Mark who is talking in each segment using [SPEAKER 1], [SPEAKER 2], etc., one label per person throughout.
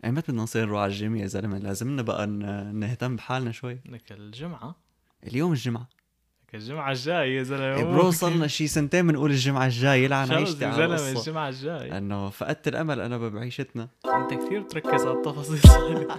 [SPEAKER 1] يعني متى بدنا نصير نروح على الجيم يا زلمه لازم لنا بقى ن- نهتم بحالنا شوي
[SPEAKER 2] لك الجمعه
[SPEAKER 1] اليوم الجمعه
[SPEAKER 2] لك الجمعه الجاي يا زلمه
[SPEAKER 1] إيه برو صرنا شي سنتين بنقول الجمعه الجاي يلعن
[SPEAKER 2] خلص
[SPEAKER 1] عيشتي
[SPEAKER 2] يا
[SPEAKER 1] على أه.
[SPEAKER 2] زلمه
[SPEAKER 1] القصه
[SPEAKER 2] الجمعه الجاي
[SPEAKER 1] لانه فقدت الامل انا بعيشتنا
[SPEAKER 2] انت كثير بتركز على التفاصيل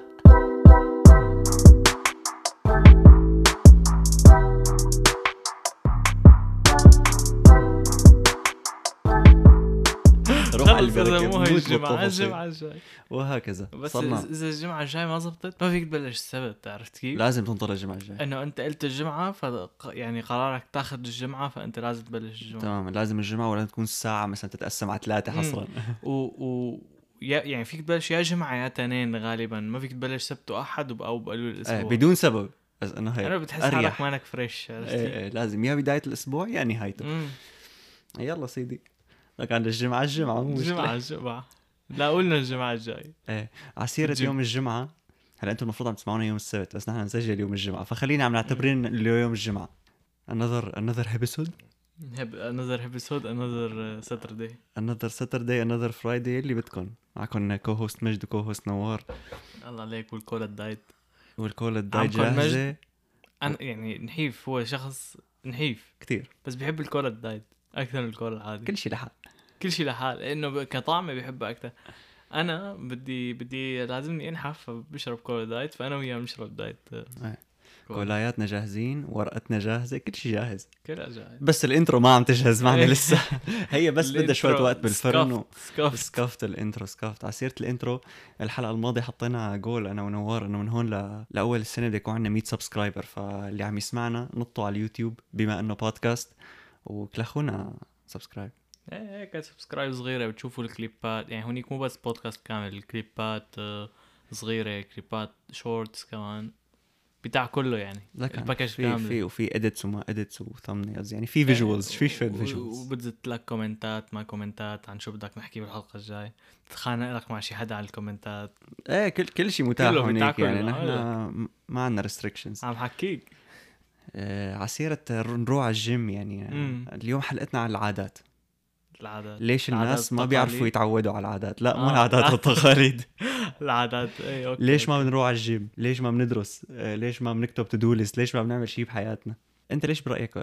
[SPEAKER 1] روح على
[SPEAKER 2] خلص اذا
[SPEAKER 1] البركه
[SPEAKER 2] مو هي
[SPEAKER 1] بموت
[SPEAKER 2] الجمعه
[SPEAKER 1] بالتفاصيل.
[SPEAKER 2] الجمعه الجاي
[SPEAKER 1] وهكذا
[SPEAKER 2] بس إذا-
[SPEAKER 1] صرنا
[SPEAKER 2] اذا الجمعه الجاي ما زبطت ما فيك تبلش السبت عرفت كيف؟
[SPEAKER 1] لازم تنطر الجمعه الجايه
[SPEAKER 2] انه انت قلت الجمعه ف يعني قرارك تاخذ الجمعه فانت لازم تبلش الجمعه
[SPEAKER 1] تمام لازم الجمعه ولا تكون الساعه مثلا تتقسم على ثلاثه حصرا
[SPEAKER 2] و, و... يا يعني فيك تبلش يا جمعه يا تنين غالبا ما فيك تبلش سبت واحد وب- او بقلب الاسبوع
[SPEAKER 1] إيه، بدون سبب بس انه هيك
[SPEAKER 2] انا بتحس
[SPEAKER 1] أريح.
[SPEAKER 2] حالك مانك فريش عرفت
[SPEAKER 1] إيه،
[SPEAKER 2] كيف؟
[SPEAKER 1] إيه، لازم يا بدايه الاسبوع يا نهايته
[SPEAKER 2] مم.
[SPEAKER 1] يلا سيدي لك عند الجمعه الجمعه مو
[SPEAKER 2] الجمعه
[SPEAKER 1] مشكله
[SPEAKER 2] الجمعه لا قلنا الجمعه الجاي
[SPEAKER 1] على سيره
[SPEAKER 2] الجم-
[SPEAKER 1] يوم الجمعه هلا انتم المفروض عم تسمعونا يوم السبت بس نحن نسجل يوم الجمعه فخلينا عم نعتبرين اليوم الجمعه another another episode
[SPEAKER 2] هب انذر ابيسود انذر ساتردي
[SPEAKER 1] another Saturday another Friday اللي بدكم معكم كو هوست مجد وكو هوست نوار
[SPEAKER 2] الله عليك والكولا الدايت
[SPEAKER 1] والكولا الداي
[SPEAKER 2] عمكن مجد.
[SPEAKER 1] جاهزه
[SPEAKER 2] انا يعني نحيف هو شخص نحيف
[SPEAKER 1] كثير
[SPEAKER 2] بس بيحب الكولا الدايت اكثر من الكولا العادي كل,
[SPEAKER 1] كل شيء لحال
[SPEAKER 2] كل شيء لحال لانه ب- كطعمه بيحبها اكثر انا بدي بدي لازمني انحف فبشرب كولا دايت فانا وياه بنشرب دايت
[SPEAKER 1] إيه.
[SPEAKER 2] كولا.
[SPEAKER 1] كولاياتنا جاهزين ورقتنا جاهزه كل شيء جاهز
[SPEAKER 2] كل اجاي
[SPEAKER 1] بس الانترو ما عم تجهز معنا
[SPEAKER 2] إيه.
[SPEAKER 1] لسه هي بس بدها شويه وقت بالفرن و...
[SPEAKER 2] سكاف
[SPEAKER 1] سكافت الانترو سكافت على سيره الانترو الحلقه الماضيه حطينا جول انا ونوار انه من هون ل... لاول السنه بده يكون عندنا 100 سبسكرايبر فاللي عم يسمعنا نطوا على اليوتيوب بما انه بودكاست وكلخونا سبسكرايب
[SPEAKER 2] هيك سبسكرايب صغيره بتشوفوا الكليبات يعني هونيك مو بس بودكاست كامل الكليبات آه، صغيره كليبات شورتس كمان بتاع كله يعني
[SPEAKER 1] لك
[SPEAKER 2] الباكج
[SPEAKER 1] في
[SPEAKER 2] كامل
[SPEAKER 1] في وفي اديتس وما اديتس وثمنيلز يعني في فيجوالز
[SPEAKER 2] إيه،
[SPEAKER 1] في شويه فيجوالز
[SPEAKER 2] وبتزت لك كومنتات ما كومنتات عن شو بدك نحكي بالحلقه الجاي تتخانق لك مع شي حدا على الكومنتات
[SPEAKER 1] ايه كل كل شيء متاح
[SPEAKER 2] كله
[SPEAKER 1] هونيك
[SPEAKER 2] بتاكل،
[SPEAKER 1] يعني
[SPEAKER 2] أنا
[SPEAKER 1] نحن
[SPEAKER 2] أقول
[SPEAKER 1] م- ما عندنا ريستريكشنز
[SPEAKER 2] عم حكيك
[SPEAKER 1] على سيره نروح على الجيم يعني
[SPEAKER 2] مم.
[SPEAKER 1] اليوم حلقتنا على العادات
[SPEAKER 2] العادات
[SPEAKER 1] ليش
[SPEAKER 2] العادات
[SPEAKER 1] الناس ما
[SPEAKER 2] والتقاليد.
[SPEAKER 1] بيعرفوا يتعودوا على العادات لا مو
[SPEAKER 2] آه.
[SPEAKER 1] العادات والتقاليد
[SPEAKER 2] العادات إيه، اي اوكي
[SPEAKER 1] ليش ما بنروح على الجيم؟ ليش ما بندرس؟ آه، ليش ما بنكتب تو ليست؟ ليش ما بنعمل شيء بحياتنا؟ انت ليش برايك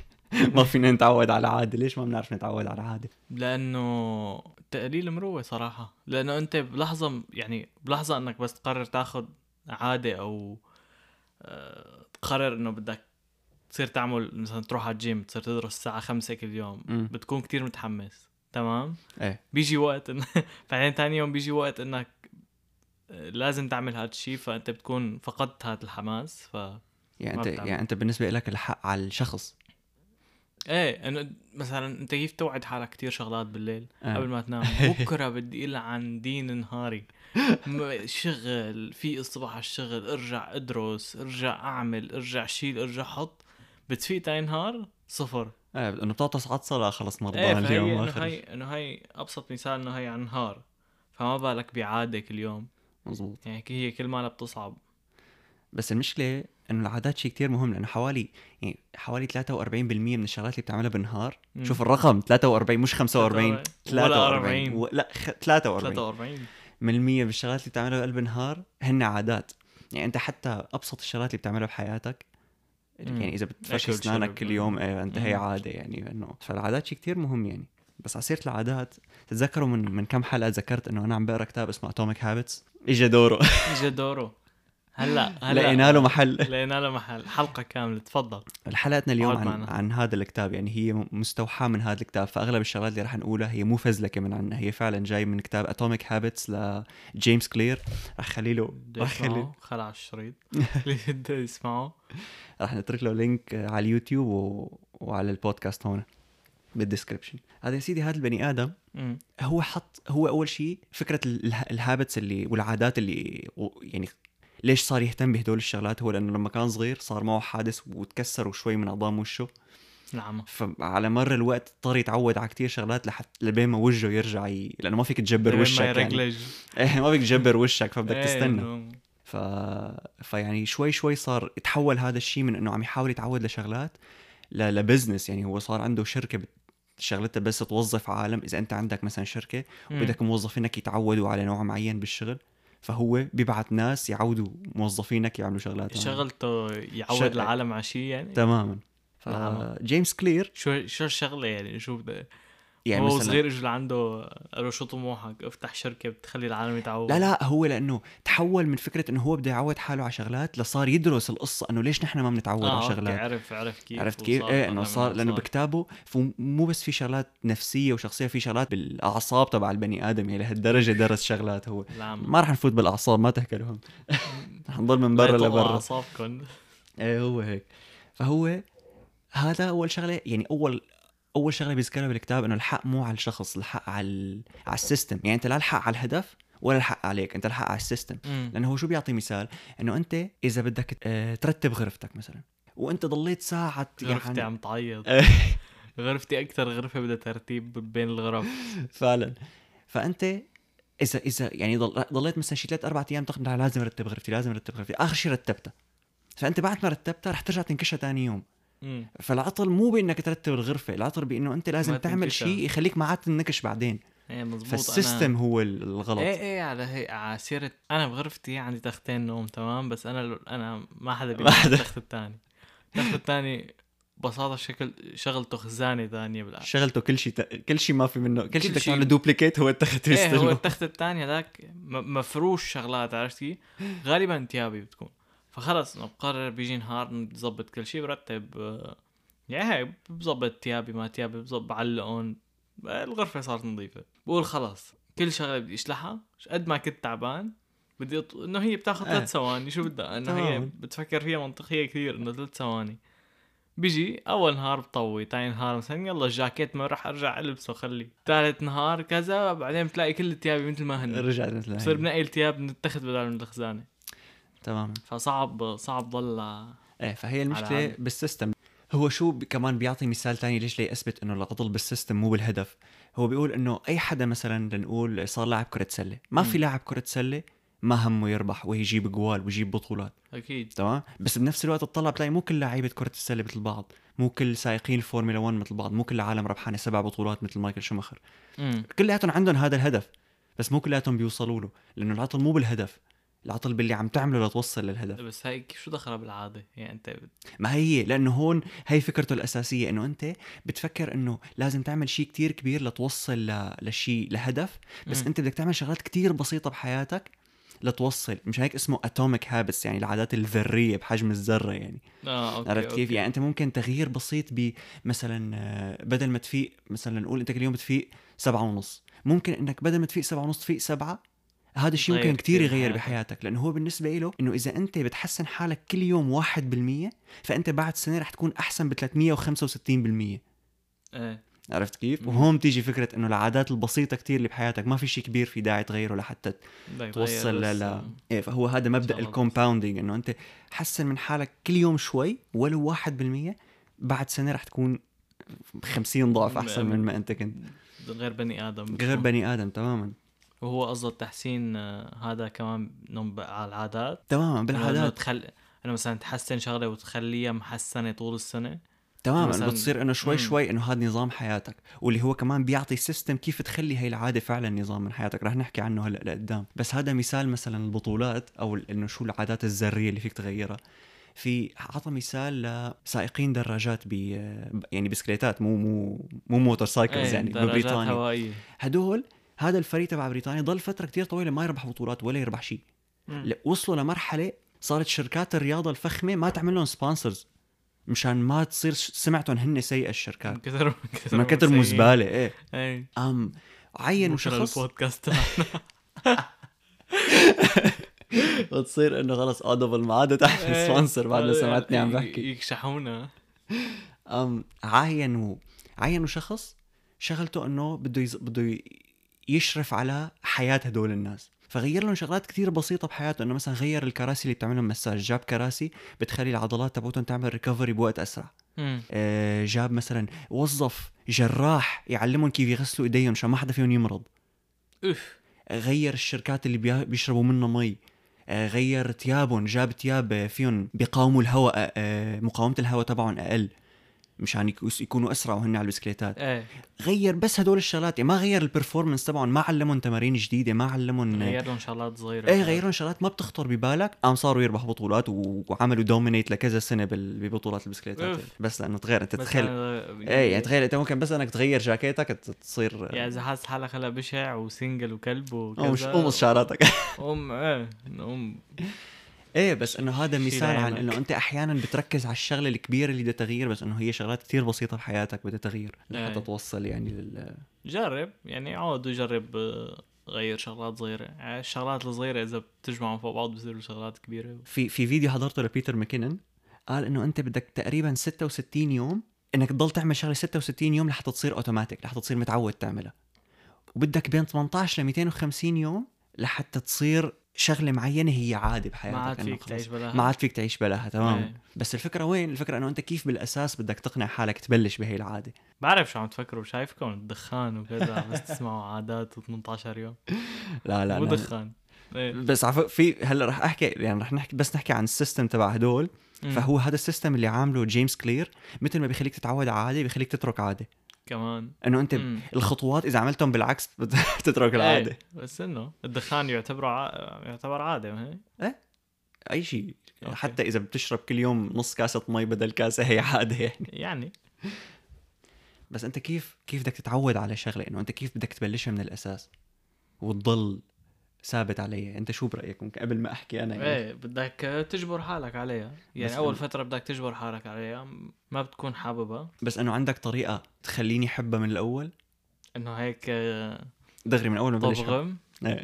[SPEAKER 1] ما فينا نتعود على عاده؟ ليش ما بنعرف نتعود على عاده؟
[SPEAKER 2] لانه تقليل مروه صراحه لانه انت بلحظه يعني بلحظه انك بس تقرر تاخذ عاده او آه، تقرر انه بدك تصير تعمل مثلا تروح على الجيم تصير تدرس الساعه 5 كل يوم
[SPEAKER 1] مم.
[SPEAKER 2] بتكون كتير متحمس تمام
[SPEAKER 1] ايه
[SPEAKER 2] بيجي وقت إن... بعدين تاني يوم بيجي وقت انك لازم تعمل هاد الشيء فانت بتكون فقدت هاد الحماس ف
[SPEAKER 1] يعني
[SPEAKER 2] ما
[SPEAKER 1] انت
[SPEAKER 2] بتعمل.
[SPEAKER 1] يعني انت بالنسبه لك الحق على الشخص
[SPEAKER 2] ايه انه مثلا انت كيف توعد حالك كتير شغلات بالليل
[SPEAKER 1] آه.
[SPEAKER 2] قبل ما تنام بكره بدي العن دين نهاري م- شغل في الصبح على الشغل ارجع ادرس ارجع اعمل ارجع شيل ارجع حط بتفيق تاني نهار صفر
[SPEAKER 1] ايه انه بتعطس عطسه لا خلص
[SPEAKER 2] ايه
[SPEAKER 1] مرضان
[SPEAKER 2] فهي
[SPEAKER 1] اليوم
[SPEAKER 2] انه
[SPEAKER 1] ما خرج
[SPEAKER 2] هي انه هي ابسط مثال انه هي عن نهار فما بالك بعاده كل يوم
[SPEAKER 1] مزبوط
[SPEAKER 2] يعني هي كل ما بتصعب
[SPEAKER 1] بس المشكله انه العادات شيء كتير مهم لانه حوالي يعني حوالي 43% من الشغلات اللي بتعملها بالنهار
[SPEAKER 2] مم.
[SPEAKER 1] شوف الرقم 43 مش 45
[SPEAKER 2] ولا
[SPEAKER 1] 43
[SPEAKER 2] 40.
[SPEAKER 1] و... لا خ... 43
[SPEAKER 2] 43
[SPEAKER 1] من المية بالشغلات اللي بتعملها بقلب النهار هن عادات يعني انت حتى ابسط الشغلات اللي بتعملها بحياتك
[SPEAKER 2] مم.
[SPEAKER 1] يعني اذا بتفرش
[SPEAKER 2] أكل
[SPEAKER 1] اسنانك
[SPEAKER 2] وشرب.
[SPEAKER 1] كل يوم ايه انت هي
[SPEAKER 2] مم.
[SPEAKER 1] عاده يعني انه فالعادات شيء كتير مهم يعني بس على سيره العادات تتذكروا من من كم حلقه ذكرت انه انا عم بقرا كتاب اسمه اتوميك هابتس اجى دوره
[SPEAKER 2] اجى دوره هلا هلا
[SPEAKER 1] لقينا له محل
[SPEAKER 2] لقينا له محل حلقه كامله تفضل
[SPEAKER 1] حلقتنا اليوم
[SPEAKER 2] اقعد
[SPEAKER 1] عن,
[SPEAKER 2] معنا.
[SPEAKER 1] عن هذا الكتاب يعني هي مستوحاة من هذا الكتاب فأغلب الشغلات اللي رح نقولها هي مو فزلكة من عنا هي فعلا جاي من كتاب أتوميك هابتس لجيمس كلير رح خلي له
[SPEAKER 2] بده
[SPEAKER 1] رح خلي
[SPEAKER 2] يسمعه خلع الشريط اللي بده يسمعه
[SPEAKER 1] رح نترك له لينك على اليوتيوب و... وعلى البودكاست هون بالدسكربشن هذا يا سيدي هذا البني ادم
[SPEAKER 2] أمم.
[SPEAKER 1] هو حط هو اول شيء فكره ال- اله- الهابتس اللي والعادات اللي و- يعني ليش صار يهتم بهدول الشغلات هو لانه لما كان صغير صار معه حادث وتكسر وشوي من عظام وشه
[SPEAKER 2] نعم
[SPEAKER 1] فعلى مر الوقت اضطر يتعود على كتير شغلات لحتى لبين ما وجهه يرجع ي... لانه ما فيك تجبر
[SPEAKER 2] لبين
[SPEAKER 1] وشك
[SPEAKER 2] ما
[SPEAKER 1] يعني
[SPEAKER 2] يرجلج
[SPEAKER 1] إيه، ما فيك تجبر وشك فبدك
[SPEAKER 2] إيه،
[SPEAKER 1] تستنى
[SPEAKER 2] إنه
[SPEAKER 1] ف... فيعني شوي شوي صار تحول هذا الشيء من انه عم يحاول يتعود لشغلات ل... لبزنس يعني هو صار عنده شركه بت... شغلتها بس توظف عالم اذا انت عندك مثلا شركه
[SPEAKER 2] مم.
[SPEAKER 1] بدك موظفينك يتعودوا على نوع معين بالشغل فهو بيبعت ناس يعودوا موظفينك يعملوا شغلات معينة.
[SPEAKER 2] شغلته يعود
[SPEAKER 1] شغل.
[SPEAKER 2] العالم على شيء يعني
[SPEAKER 1] تماما آه.
[SPEAKER 2] نعم.
[SPEAKER 1] فجيمس كلير
[SPEAKER 2] شو شو الشغله يعني شو بده
[SPEAKER 1] يعني
[SPEAKER 2] يعني هو
[SPEAKER 1] مثلا
[SPEAKER 2] صغير اجى لعنده قال له شو طموحك افتح شركه بتخلي العالم يتعود
[SPEAKER 1] لا لا هو لانه تحول من فكره انه هو بده يعود حاله على شغلات لصار يدرس القصه انه ليش نحن ما بنتعود
[SPEAKER 2] آه
[SPEAKER 1] على
[SPEAKER 2] أوكي،
[SPEAKER 1] شغلات
[SPEAKER 2] عرف عرف كيف
[SPEAKER 1] عرف كيف؟
[SPEAKER 2] وصار
[SPEAKER 1] ايه
[SPEAKER 2] طلع
[SPEAKER 1] انه
[SPEAKER 2] منها
[SPEAKER 1] صار لانه
[SPEAKER 2] صار.
[SPEAKER 1] بكتابه فم- مو بس في شغلات نفسيه وشخصيه في شغلات بالاعصاب تبع البني ادم يعني لهالدرجه درس شغلات هو
[SPEAKER 2] نعم
[SPEAKER 1] ما رح نفوت بالاعصاب ما تحكي لهم رح نضل من برا
[SPEAKER 2] لا يطلعوا
[SPEAKER 1] لبرا
[SPEAKER 2] اعصابكم
[SPEAKER 1] ايه هو هيك فهو هذا اول شغله يعني اول اول شغله بيذكرها بالكتاب انه الحق مو على الشخص الحق على ال- على السيستم يعني انت لا الحق على الهدف ولا الحق عليك انت الحق على السيستم
[SPEAKER 2] مم.
[SPEAKER 1] لانه هو شو بيعطي مثال انه انت اذا بدك آه، ترتب غرفتك مثلا وانت ضليت ساعه
[SPEAKER 2] غرفتي
[SPEAKER 1] يعني
[SPEAKER 2] عم تعيط غرفتي اكثر غرفه بدها ترتيب بين الغرف
[SPEAKER 1] فعلا فانت اذا اذا يعني ضل- ضليت مثلا شي ثلاث اربع ايام تاخذ لازم ارتب غرفتي لازم ارتب غرفتي اخر شيء رتبتها فانت بعد ما رتبتها رح ترجع تنكشها ثاني يوم
[SPEAKER 2] مم.
[SPEAKER 1] فالعطل مو بانك ترتب الغرفه العطل بانه انت لازم
[SPEAKER 2] ما
[SPEAKER 1] تعمل
[SPEAKER 2] تنكشها.
[SPEAKER 1] شيء يخليك ما عاد تنكش بعدين
[SPEAKER 2] ايه مزبوط
[SPEAKER 1] فالسيستم هو ال-
[SPEAKER 2] أنا...
[SPEAKER 1] الغلط
[SPEAKER 2] ايه ايه على هي على سيرة انا بغرفتي عندي تختين نوم تمام بس انا انا ما حدا
[SPEAKER 1] ما حدا.
[SPEAKER 2] بيعمل التخت الثاني التخت الثاني ببساطه شكل شغلته خزانه ثانيه بالعالم
[SPEAKER 1] شغلته كل شيء ت... كل شيء ما في منه كل شيء
[SPEAKER 2] كل
[SPEAKER 1] بدك
[SPEAKER 2] شيء-
[SPEAKER 1] تعمله دوبليكيت هو التخت
[SPEAKER 2] ايه هو
[SPEAKER 1] يستلمه
[SPEAKER 2] التخت الثاني هذاك م- مفروش شغلات عرفت كيف؟ غالبا ثيابي بتكون فخلص انه بقرر بيجي نهار بظبط كل شيء برتب آه، يعني هيك بظبط ثيابي ما ثيابي بظبط بعلقهم آه، الغرفه صارت نظيفه بقول خلص كل شغله بدي اشلحها قد ما كنت تعبان بدي أط... انه هي بتاخذ
[SPEAKER 1] آه.
[SPEAKER 2] ثلاث ثواني شو بدها انه هي
[SPEAKER 1] تمام.
[SPEAKER 2] بتفكر فيها منطقيه كثير انه ثلاث ثواني بيجي اول نهار بطوي ثاني نهار مثلا يلا الجاكيت ما راح ارجع البسه خلي ثالث نهار كذا بعدين بتلاقي كل ثيابي مثل ما هن
[SPEAKER 1] رجعت مثل
[SPEAKER 2] بصير
[SPEAKER 1] هاي.
[SPEAKER 2] بنقي الثياب من التخت بدل من الخزانه
[SPEAKER 1] تماما
[SPEAKER 2] فصعب صعب ضل
[SPEAKER 1] ايه فهي
[SPEAKER 2] على
[SPEAKER 1] المشكله
[SPEAKER 2] العالم.
[SPEAKER 1] بالسيستم هو شو ب- كمان بيعطي مثال تاني ليش ليثبت انه العطل بالسيستم مو بالهدف هو بيقول انه اي حدا مثلا لنقول صار لاعب كره سله ما في
[SPEAKER 2] مم.
[SPEAKER 1] لاعب كره سله ما همه يربح ويجيب جوال ويجيب بطولات
[SPEAKER 2] اكيد
[SPEAKER 1] تمام بس بنفس الوقت تطلع بتلاقي مو كل لعيبه كره السله مثل بعض مو كل سائقين الفورمولا 1 مثل بعض مو كل العالم ربحانه سبع بطولات مثل مايكل شوماخر
[SPEAKER 2] امم
[SPEAKER 1] كلياتهم عندهم هذا الهدف بس مو كلياتهم بيوصلوا له لانه العطل مو بالهدف العطل باللي عم تعمله لتوصل للهدف
[SPEAKER 2] بس هاي كيف- شو دخلها بالعاده يعني انت بت-
[SPEAKER 1] ما هي لانه هون هي فكرته الاساسيه انه انت بتفكر انه لازم تعمل شيء كتير كبير لتوصل ل... لشيء لهدف بس
[SPEAKER 2] مم.
[SPEAKER 1] انت بدك تعمل شغلات كتير بسيطه بحياتك لتوصل مش هيك اسمه اتوميك هابتس يعني العادات الذريه بحجم الذره يعني
[SPEAKER 2] اه اوكي
[SPEAKER 1] عرفت كيف
[SPEAKER 2] أوكي.
[SPEAKER 1] يعني انت ممكن تغيير بسيط بمثلا آه، بدل ما تفيق مثلا نقول انت كل يوم بتفيق سبعة ونص ممكن انك بدل ما تفيق سبعة ونص تفيق سبعة هذا الشيء
[SPEAKER 2] تغير
[SPEAKER 1] ممكن كتير
[SPEAKER 2] كتير
[SPEAKER 1] يغير
[SPEAKER 2] حياتك.
[SPEAKER 1] بحياتك لانه هو بالنسبه له انه اذا انت بتحسن حالك كل يوم واحد بالمية فانت بعد سنه رح تكون احسن ب 365 بالمية
[SPEAKER 2] ايه
[SPEAKER 1] عرفت كيف
[SPEAKER 2] مم.
[SPEAKER 1] وهون بتيجي فكره انه العادات البسيطه كتير اللي بحياتك ما في شيء كبير في داعي تغيره لحتى
[SPEAKER 2] بدك
[SPEAKER 1] توصل
[SPEAKER 2] تغير
[SPEAKER 1] ل-
[SPEAKER 2] بس،
[SPEAKER 1] ل
[SPEAKER 2] آه،
[SPEAKER 1] ايه فهو هذا مبدا
[SPEAKER 2] شغلة بس.
[SPEAKER 1] الكومباوندينج انه انت حسن من حالك كل يوم شوي ولو 1% بعد سنه رح تكون 50 ضعف احسن من ما انت كنت
[SPEAKER 2] غير بني ادم
[SPEAKER 1] غير بني ادم تماما
[SPEAKER 2] وهو قصده التحسين آه، هذا كمان نم- على العادات
[SPEAKER 1] تماما
[SPEAKER 2] انه
[SPEAKER 1] بالعادات
[SPEAKER 2] تخل... انه مثلا تحسن شغله وتخليها محسنه طول السنه
[SPEAKER 1] تماما
[SPEAKER 2] مثلاً-
[SPEAKER 1] بتصير انه شوي
[SPEAKER 2] مم.
[SPEAKER 1] شوي انه هذا نظام حياتك واللي هو كمان بيعطي سيستم كيف تخلي هي العاده فعلا نظام من حياتك رح نحكي عنه هلا لقدام بس هذا مثال مثلا البطولات او ال- انه شو العادات الذريه اللي فيك تغيرها في عطى مثال لسائقين دراجات ب يعني بسكليتات مو مو مو موتور سايكلز
[SPEAKER 2] إيه،
[SPEAKER 1] يعني
[SPEAKER 2] دراجات
[SPEAKER 1] ببريطانيا
[SPEAKER 2] هوائيه
[SPEAKER 1] هدول هذا الفريق تبع بريطانيا ضل فتره كتير طويله ما يربح بطولات ولا يربح شيء
[SPEAKER 2] مم.
[SPEAKER 1] لا، وصلوا لمرحله صارت شركات الرياضه الفخمه ما تعمل لهم سبونسرز مشان ما تصير ش- سمعتهم هن سيئه الشركات
[SPEAKER 2] من كثر من كثر
[SPEAKER 1] من إيه، كتر
[SPEAKER 2] مسيئين.
[SPEAKER 1] مو زباله ايه
[SPEAKER 2] ايه
[SPEAKER 1] ام عينوا
[SPEAKER 2] بكرة
[SPEAKER 1] شخص
[SPEAKER 2] البودكاست إيه. تبعنا.
[SPEAKER 1] وتصير انه خلص اودبل ما عادت احمل
[SPEAKER 2] إيه،
[SPEAKER 1] سبونسر بعد ما
[SPEAKER 2] هذا
[SPEAKER 1] سمعتني عم
[SPEAKER 2] يعني
[SPEAKER 1] بحكي
[SPEAKER 2] يكشحونا
[SPEAKER 1] أم عاينوا عاينوا شخص شغلته انه بده يز... بده ي- يشرف على حياه هدول الناس فغير لهم شغلات كثير بسيطه بحياته انه مثلا غير الكراسي اللي بتعملهم مساج جاب كراسي بتخلي العضلات تبعتهم تعمل ريكفري بوقت اسرع
[SPEAKER 2] مم.
[SPEAKER 1] آه، جاب مثلا وظف جراح يعلمهم كيف يغسلوا ايديهم عشان ما حدا فيهم يمرض
[SPEAKER 2] اوف
[SPEAKER 1] غير الشركات اللي بيا- بيشربوا منها مي آه، غير ثيابهم جاب ثياب آه، فيهم بيقاوموا الهواء آه، مقاومه الهواء آه، تبعهم اقل مشان يكو- يكونوا اسرع وهن على البسكليتات
[SPEAKER 2] ايه
[SPEAKER 1] غير بس هدول الشغلات يعني ما غير البرفورمنس تبعهم ما علمهم تمارين جديده ما علمهم
[SPEAKER 2] غير لهم شغلات صغيره
[SPEAKER 1] ايه غيرهم شغلات ما بتخطر ببالك قام صاروا يربحوا بطولات و- وعملوا دومينيت لكذا سنه بال- ببطولات البسكليتات
[SPEAKER 2] أوف.
[SPEAKER 1] بس لانه تغير انت
[SPEAKER 2] بس
[SPEAKER 1] تخيل
[SPEAKER 2] أنا-
[SPEAKER 1] ايه يعني تخيل انت ممكن بس انك تغير جاكيتك ت- تصير
[SPEAKER 2] يعني اذا حاسس حالك هلا بشع وسنجل وكلب
[SPEAKER 1] قمص
[SPEAKER 2] وكذا
[SPEAKER 1] قمص شعراتك
[SPEAKER 2] ام ايه ام
[SPEAKER 1] ايه بس انه هذا
[SPEAKER 2] شيل
[SPEAKER 1] مثال عن
[SPEAKER 2] عينك.
[SPEAKER 1] انه انت احيانا بتركز على الشغله الكبيره اللي بدها تغيير بس انه هي شغلات كثير بسيطه بحياتك بدها تغيير لحتى
[SPEAKER 2] إيه.
[SPEAKER 1] توصل يعني لل
[SPEAKER 2] جرب يعني عود وجرب آه، غير شغلات صغيره يعني الشغلات الصغيره اذا بتجمعهم فوق بعض بصيروا شغلات كبيره
[SPEAKER 1] في في فيديو حضرته لبيتر ماكينن قال انه انت بدك تقريبا 66 يوم انك تضل تعمل شغله 66 يوم لحتى تصير اوتوماتيك لحتى تصير متعود تعملها وبدك بين 18 ل 250 يوم لحتى تصير شغله معينه هي عاده
[SPEAKER 2] ما
[SPEAKER 1] بحياتك
[SPEAKER 2] عاد
[SPEAKER 1] إنه
[SPEAKER 2] فيك
[SPEAKER 1] خلص
[SPEAKER 2] تعيش بلاها
[SPEAKER 1] ما عاد فيك تعيش بلاها تمام
[SPEAKER 2] إيه.
[SPEAKER 1] بس الفكره وين الفكره انه انت كيف بالاساس بدك تقنع حالك تبلش بهي العاده
[SPEAKER 2] بعرف شو عم تفكروا شايفكم الدخان وكذا بس تسمعوا عادات و18 يوم
[SPEAKER 1] لا لا
[SPEAKER 2] مو
[SPEAKER 1] لا
[SPEAKER 2] دخان ايه
[SPEAKER 1] بس عفوا في هلا رح احكي يعني رح نحكي بس نحكي عن السيستم تبع هدول
[SPEAKER 2] مم.
[SPEAKER 1] فهو هذا السيستم اللي عامله جيمس كلير مثل ما بيخليك تتعود على عاده بيخليك تترك عاده
[SPEAKER 2] كمان
[SPEAKER 1] انه انت
[SPEAKER 2] مم.
[SPEAKER 1] الخطوات اذا عملتهم بالعكس بتترك العاده
[SPEAKER 2] ايه بس انه الدخان يعتبر ع... يعتبر عاده ما هي يعني
[SPEAKER 1] اي شيء
[SPEAKER 2] أوكي.
[SPEAKER 1] حتى اذا بتشرب كل يوم نص كاسه مي بدل كاسه هي عاده يعني
[SPEAKER 2] يعني
[SPEAKER 1] بس انت كيف كيف بدك تتعود على شغله انه انت كيف بدك تبلشها من الاساس وتضل ثابت عليها انت شو برايك ممكن قبل ما احكي انا يعني.
[SPEAKER 2] ايه بدك تجبر حالك عليها
[SPEAKER 1] بس
[SPEAKER 2] يعني اول
[SPEAKER 1] أنا-
[SPEAKER 2] فتره بدك تجبر حالك عليها ما بتكون حاببها
[SPEAKER 1] بس انه عندك طريقه تخليني احبها من الاول
[SPEAKER 2] انه هيك آه،
[SPEAKER 1] دغري من اول ما بلش حب.
[SPEAKER 2] تبغم
[SPEAKER 1] إيه.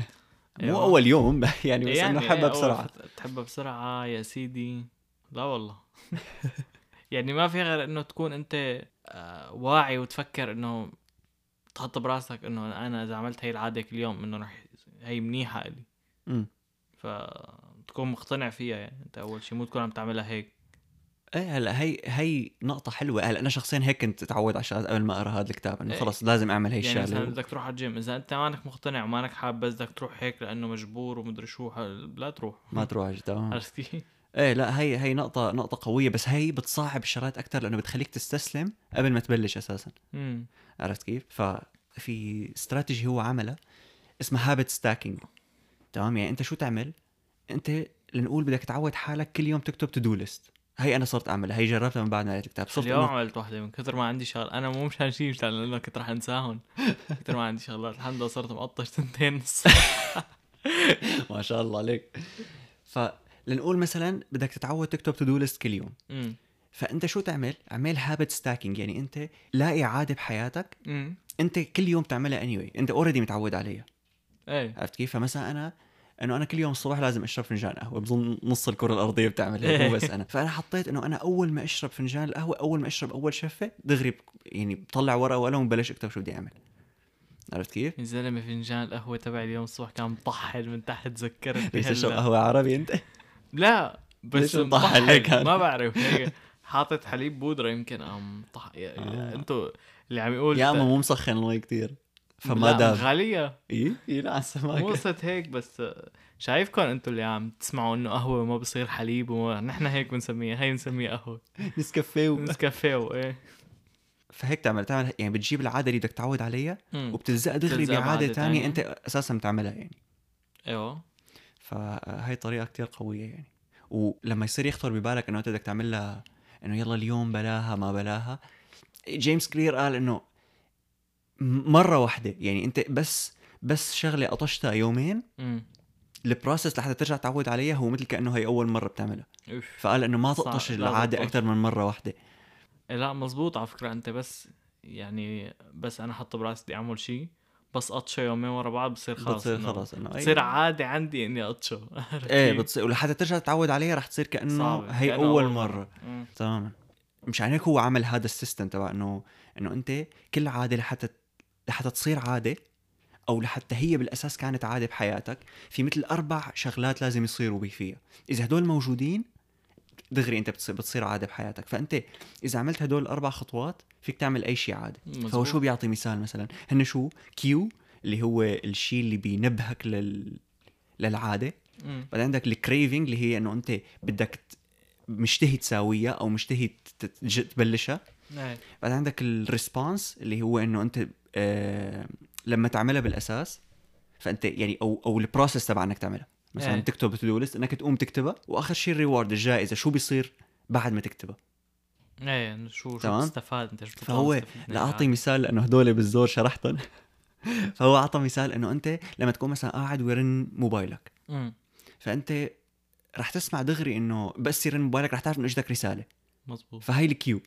[SPEAKER 1] مو
[SPEAKER 2] أيوة.
[SPEAKER 1] اول يوم يعني بس
[SPEAKER 2] يعني
[SPEAKER 1] انه
[SPEAKER 2] إيه،
[SPEAKER 1] حبها
[SPEAKER 2] أول
[SPEAKER 1] بسرعه
[SPEAKER 2] فت- تحبها بسرعة آه يا سيدي لا والله يعني ما في غير انه تكون انت آه، واعي وتفكر انه تحط براسك انه انا اذا عملت هي العادة كل يوم انه رح هي منيحة الي
[SPEAKER 1] أمم.
[SPEAKER 2] فتكون مقتنع فيها يعني انت اول شيء مو تكون عم تعملها هيك
[SPEAKER 1] ايه هلا هي هي نقطة حلوة هلا أنا شخصيا هيك كنت أتعود على الشغلات قبل ما أقرأ هذا الكتاب إنه
[SPEAKER 2] إيه.
[SPEAKER 1] خلص لازم أعمل هي
[SPEAKER 2] يعني
[SPEAKER 1] الشغلة
[SPEAKER 2] مثلا
[SPEAKER 1] و-
[SPEAKER 2] بدك تروح على الجيم اذا انت مانك مقتنع ومانك حاب بس بدك تروح هيك لانه مجبور ومدري شو ح- لا تروح
[SPEAKER 1] ما تروح على تمام
[SPEAKER 2] عرفت كيف؟
[SPEAKER 1] ايه لا هي هي نقطة نقطة قوية بس هي بتصعب الشغلات أكثر لأنه بتخليك تستسلم قبل ما تبلش أساسا
[SPEAKER 2] مم.
[SPEAKER 1] عرفت كيف؟ ففي استراتيجي هو عملها اسمها هابت ستاكينج تمام يعني أنت شو تعمل؟ أنت لنقول بدك تعود حالك كل يوم تكتب تو دو ليست هي أنا صرت أعملها هي جربتها من بعد ما قريت الكتاب صرت
[SPEAKER 2] اليوم
[SPEAKER 1] إنه
[SPEAKER 2] عملت واحدة من كثر ما عندي شغل انا مو مشان شيء مشان لانه كنت رح انساهم كثر ما عندي شغلات الحمد لله صرت مقطش سنتين نص
[SPEAKER 1] ما شاء الله عليك فلنقول مثلا بدك تتعود تكتب تو دو ليست كل يوم
[SPEAKER 2] أمم.
[SPEAKER 1] فانت شو تعمل؟ اعمل هابت ستاكينج يعني انت لاقي عاده بحياتك
[SPEAKER 2] أمم.
[SPEAKER 1] انت كل يوم تعملها اني anyway. انت اوريدي متعود عليها
[SPEAKER 2] ايه
[SPEAKER 1] عرفت كيف؟ فمثلا انا انه انا كل يوم الصبح لازم اشرب فنجان قهوه بظن نص الكره الارضيه بتعمل هيك مو بس انا فانا حطيت انه انا اول ما اشرب فنجان القهوه اول ما اشرب اول شفه دغري ب- يعني بطلع ورقه وقلم وبلش اكتب شو بدي اعمل عرفت كيف؟
[SPEAKER 2] يا زلمه فنجان القهوه تبعي اليوم الصبح كان مطحل من تحت تذكرت
[SPEAKER 1] بدك
[SPEAKER 2] بهلا.
[SPEAKER 1] تشرب قهوه عربي انت؟
[SPEAKER 2] لا
[SPEAKER 1] ليش
[SPEAKER 2] بس
[SPEAKER 1] مطحل
[SPEAKER 2] مطحل
[SPEAKER 1] هيك؟
[SPEAKER 2] ما بعرف هيك حاطط حليب بودره يمكن ام طح
[SPEAKER 1] آه.
[SPEAKER 2] انتوا اللي عم يقول
[SPEAKER 1] يا اما مو مسخن المي كثير فما
[SPEAKER 2] لا،
[SPEAKER 1] داب
[SPEAKER 2] غاليه
[SPEAKER 1] اي اي لا على
[SPEAKER 2] مو
[SPEAKER 1] السماكه
[SPEAKER 2] قصه هيك بس شايفكم انتوا اللي عم تسمعوا انه قهوه ما بصير حليب وما نحن هيك بنسميها هي بنسميها قهوه
[SPEAKER 1] نسكافيه و-
[SPEAKER 2] نسكافيه وايه
[SPEAKER 1] إيه. فهيك تعمل تعمل يعني بتجيب العاده اللي بدك تعود عليها وبتلزقها دغري
[SPEAKER 2] بتلزقها
[SPEAKER 1] بعاده
[SPEAKER 2] بعادة
[SPEAKER 1] تانية
[SPEAKER 2] تانية.
[SPEAKER 1] انت اساسا بتعملها يعني
[SPEAKER 2] ايوه
[SPEAKER 1] فهي طريقه كتير قويه يعني ولما يصير يخطر ببالك انه انت بدك تعمل لها انه يلا اليوم بلاها ما بلاها جيمس كلير قال انه م- مره واحده يعني انت بس بس شغله قطشتها يومين
[SPEAKER 2] امم
[SPEAKER 1] البروسس لحتى ترجع تعود عليها هو مثل كانه هي اول مره بتعملها
[SPEAKER 2] اوف
[SPEAKER 1] فقال انه ما
[SPEAKER 2] صعب،
[SPEAKER 1] تقطش
[SPEAKER 2] لا
[SPEAKER 1] العاده
[SPEAKER 2] تقطش.
[SPEAKER 1] اكثر من مره واحده
[SPEAKER 2] إيه، لا مزبوط على فكره انت بس يعني بس انا حط براسي بدي اعمل شيء بس اطشه يومين ورا بعض بصير خلاص
[SPEAKER 1] بتصير
[SPEAKER 2] إنه
[SPEAKER 1] خلاص انه أي-
[SPEAKER 2] بصير عادي عندي اني اطشه عرفت
[SPEAKER 1] ايه
[SPEAKER 2] كيف؟
[SPEAKER 1] بتصير ولحتى ترجع تتعود عليها رح تصير كانه
[SPEAKER 2] صعبة،
[SPEAKER 1] هي
[SPEAKER 2] كأنه
[SPEAKER 1] اول
[SPEAKER 2] أول
[SPEAKER 1] مره
[SPEAKER 2] أمم.
[SPEAKER 1] تماما مشان هيك هو عمل هذا السيستم تبع انه انه انت كل عاده لحتى لحتى تصير عاده او لحتى هي بالاساس كانت عاده بحياتك في مثل اربع شغلات لازم يصيروا بي فيها اذا هدول موجودين دغري انت بتصير, بتصير عاده بحياتك فانت اذا عملت هدول الاربع خطوات فيك تعمل اي شيء عاده فهو
[SPEAKER 2] مزبوط.
[SPEAKER 1] شو بيعطي مثال مثلا هن شو كيو اللي هو الشيء اللي بينبهك لل... للعاده
[SPEAKER 2] أمم.
[SPEAKER 1] بعدين عندك الكريفنج اللي هي انه انت بدك ت- مشتهي تساويها او مشتهي ت- ت- تج- تبلشها
[SPEAKER 2] إيه.
[SPEAKER 1] بعد عندك الريسبونس اللي هو انه انت آه لما تعملها بالاساس فانت يعني او او البروسيس تبع انك تعملها مثلا
[SPEAKER 2] إيه.
[SPEAKER 1] تكتب تو ليست انك تقوم تكتبها واخر شيء الريورد الجائزه شو بيصير بعد ما تكتبها
[SPEAKER 2] ايه إنه شو شو
[SPEAKER 1] تمام.
[SPEAKER 2] بتستفاد انت شو بتطلع
[SPEAKER 1] فهو
[SPEAKER 2] مستفيد من
[SPEAKER 1] لا اعطي
[SPEAKER 2] العالم.
[SPEAKER 1] مثال لانه هدول بالزور شرحتهم فهو اعطى مثال انه انت لما تكون مثلا قاعد ويرن موبايلك
[SPEAKER 2] أمم،
[SPEAKER 1] فانت رح تسمع دغري انه بس يرن موبايلك رح تعرف انه اجتك رساله
[SPEAKER 2] مزبوط
[SPEAKER 1] فهي الكيو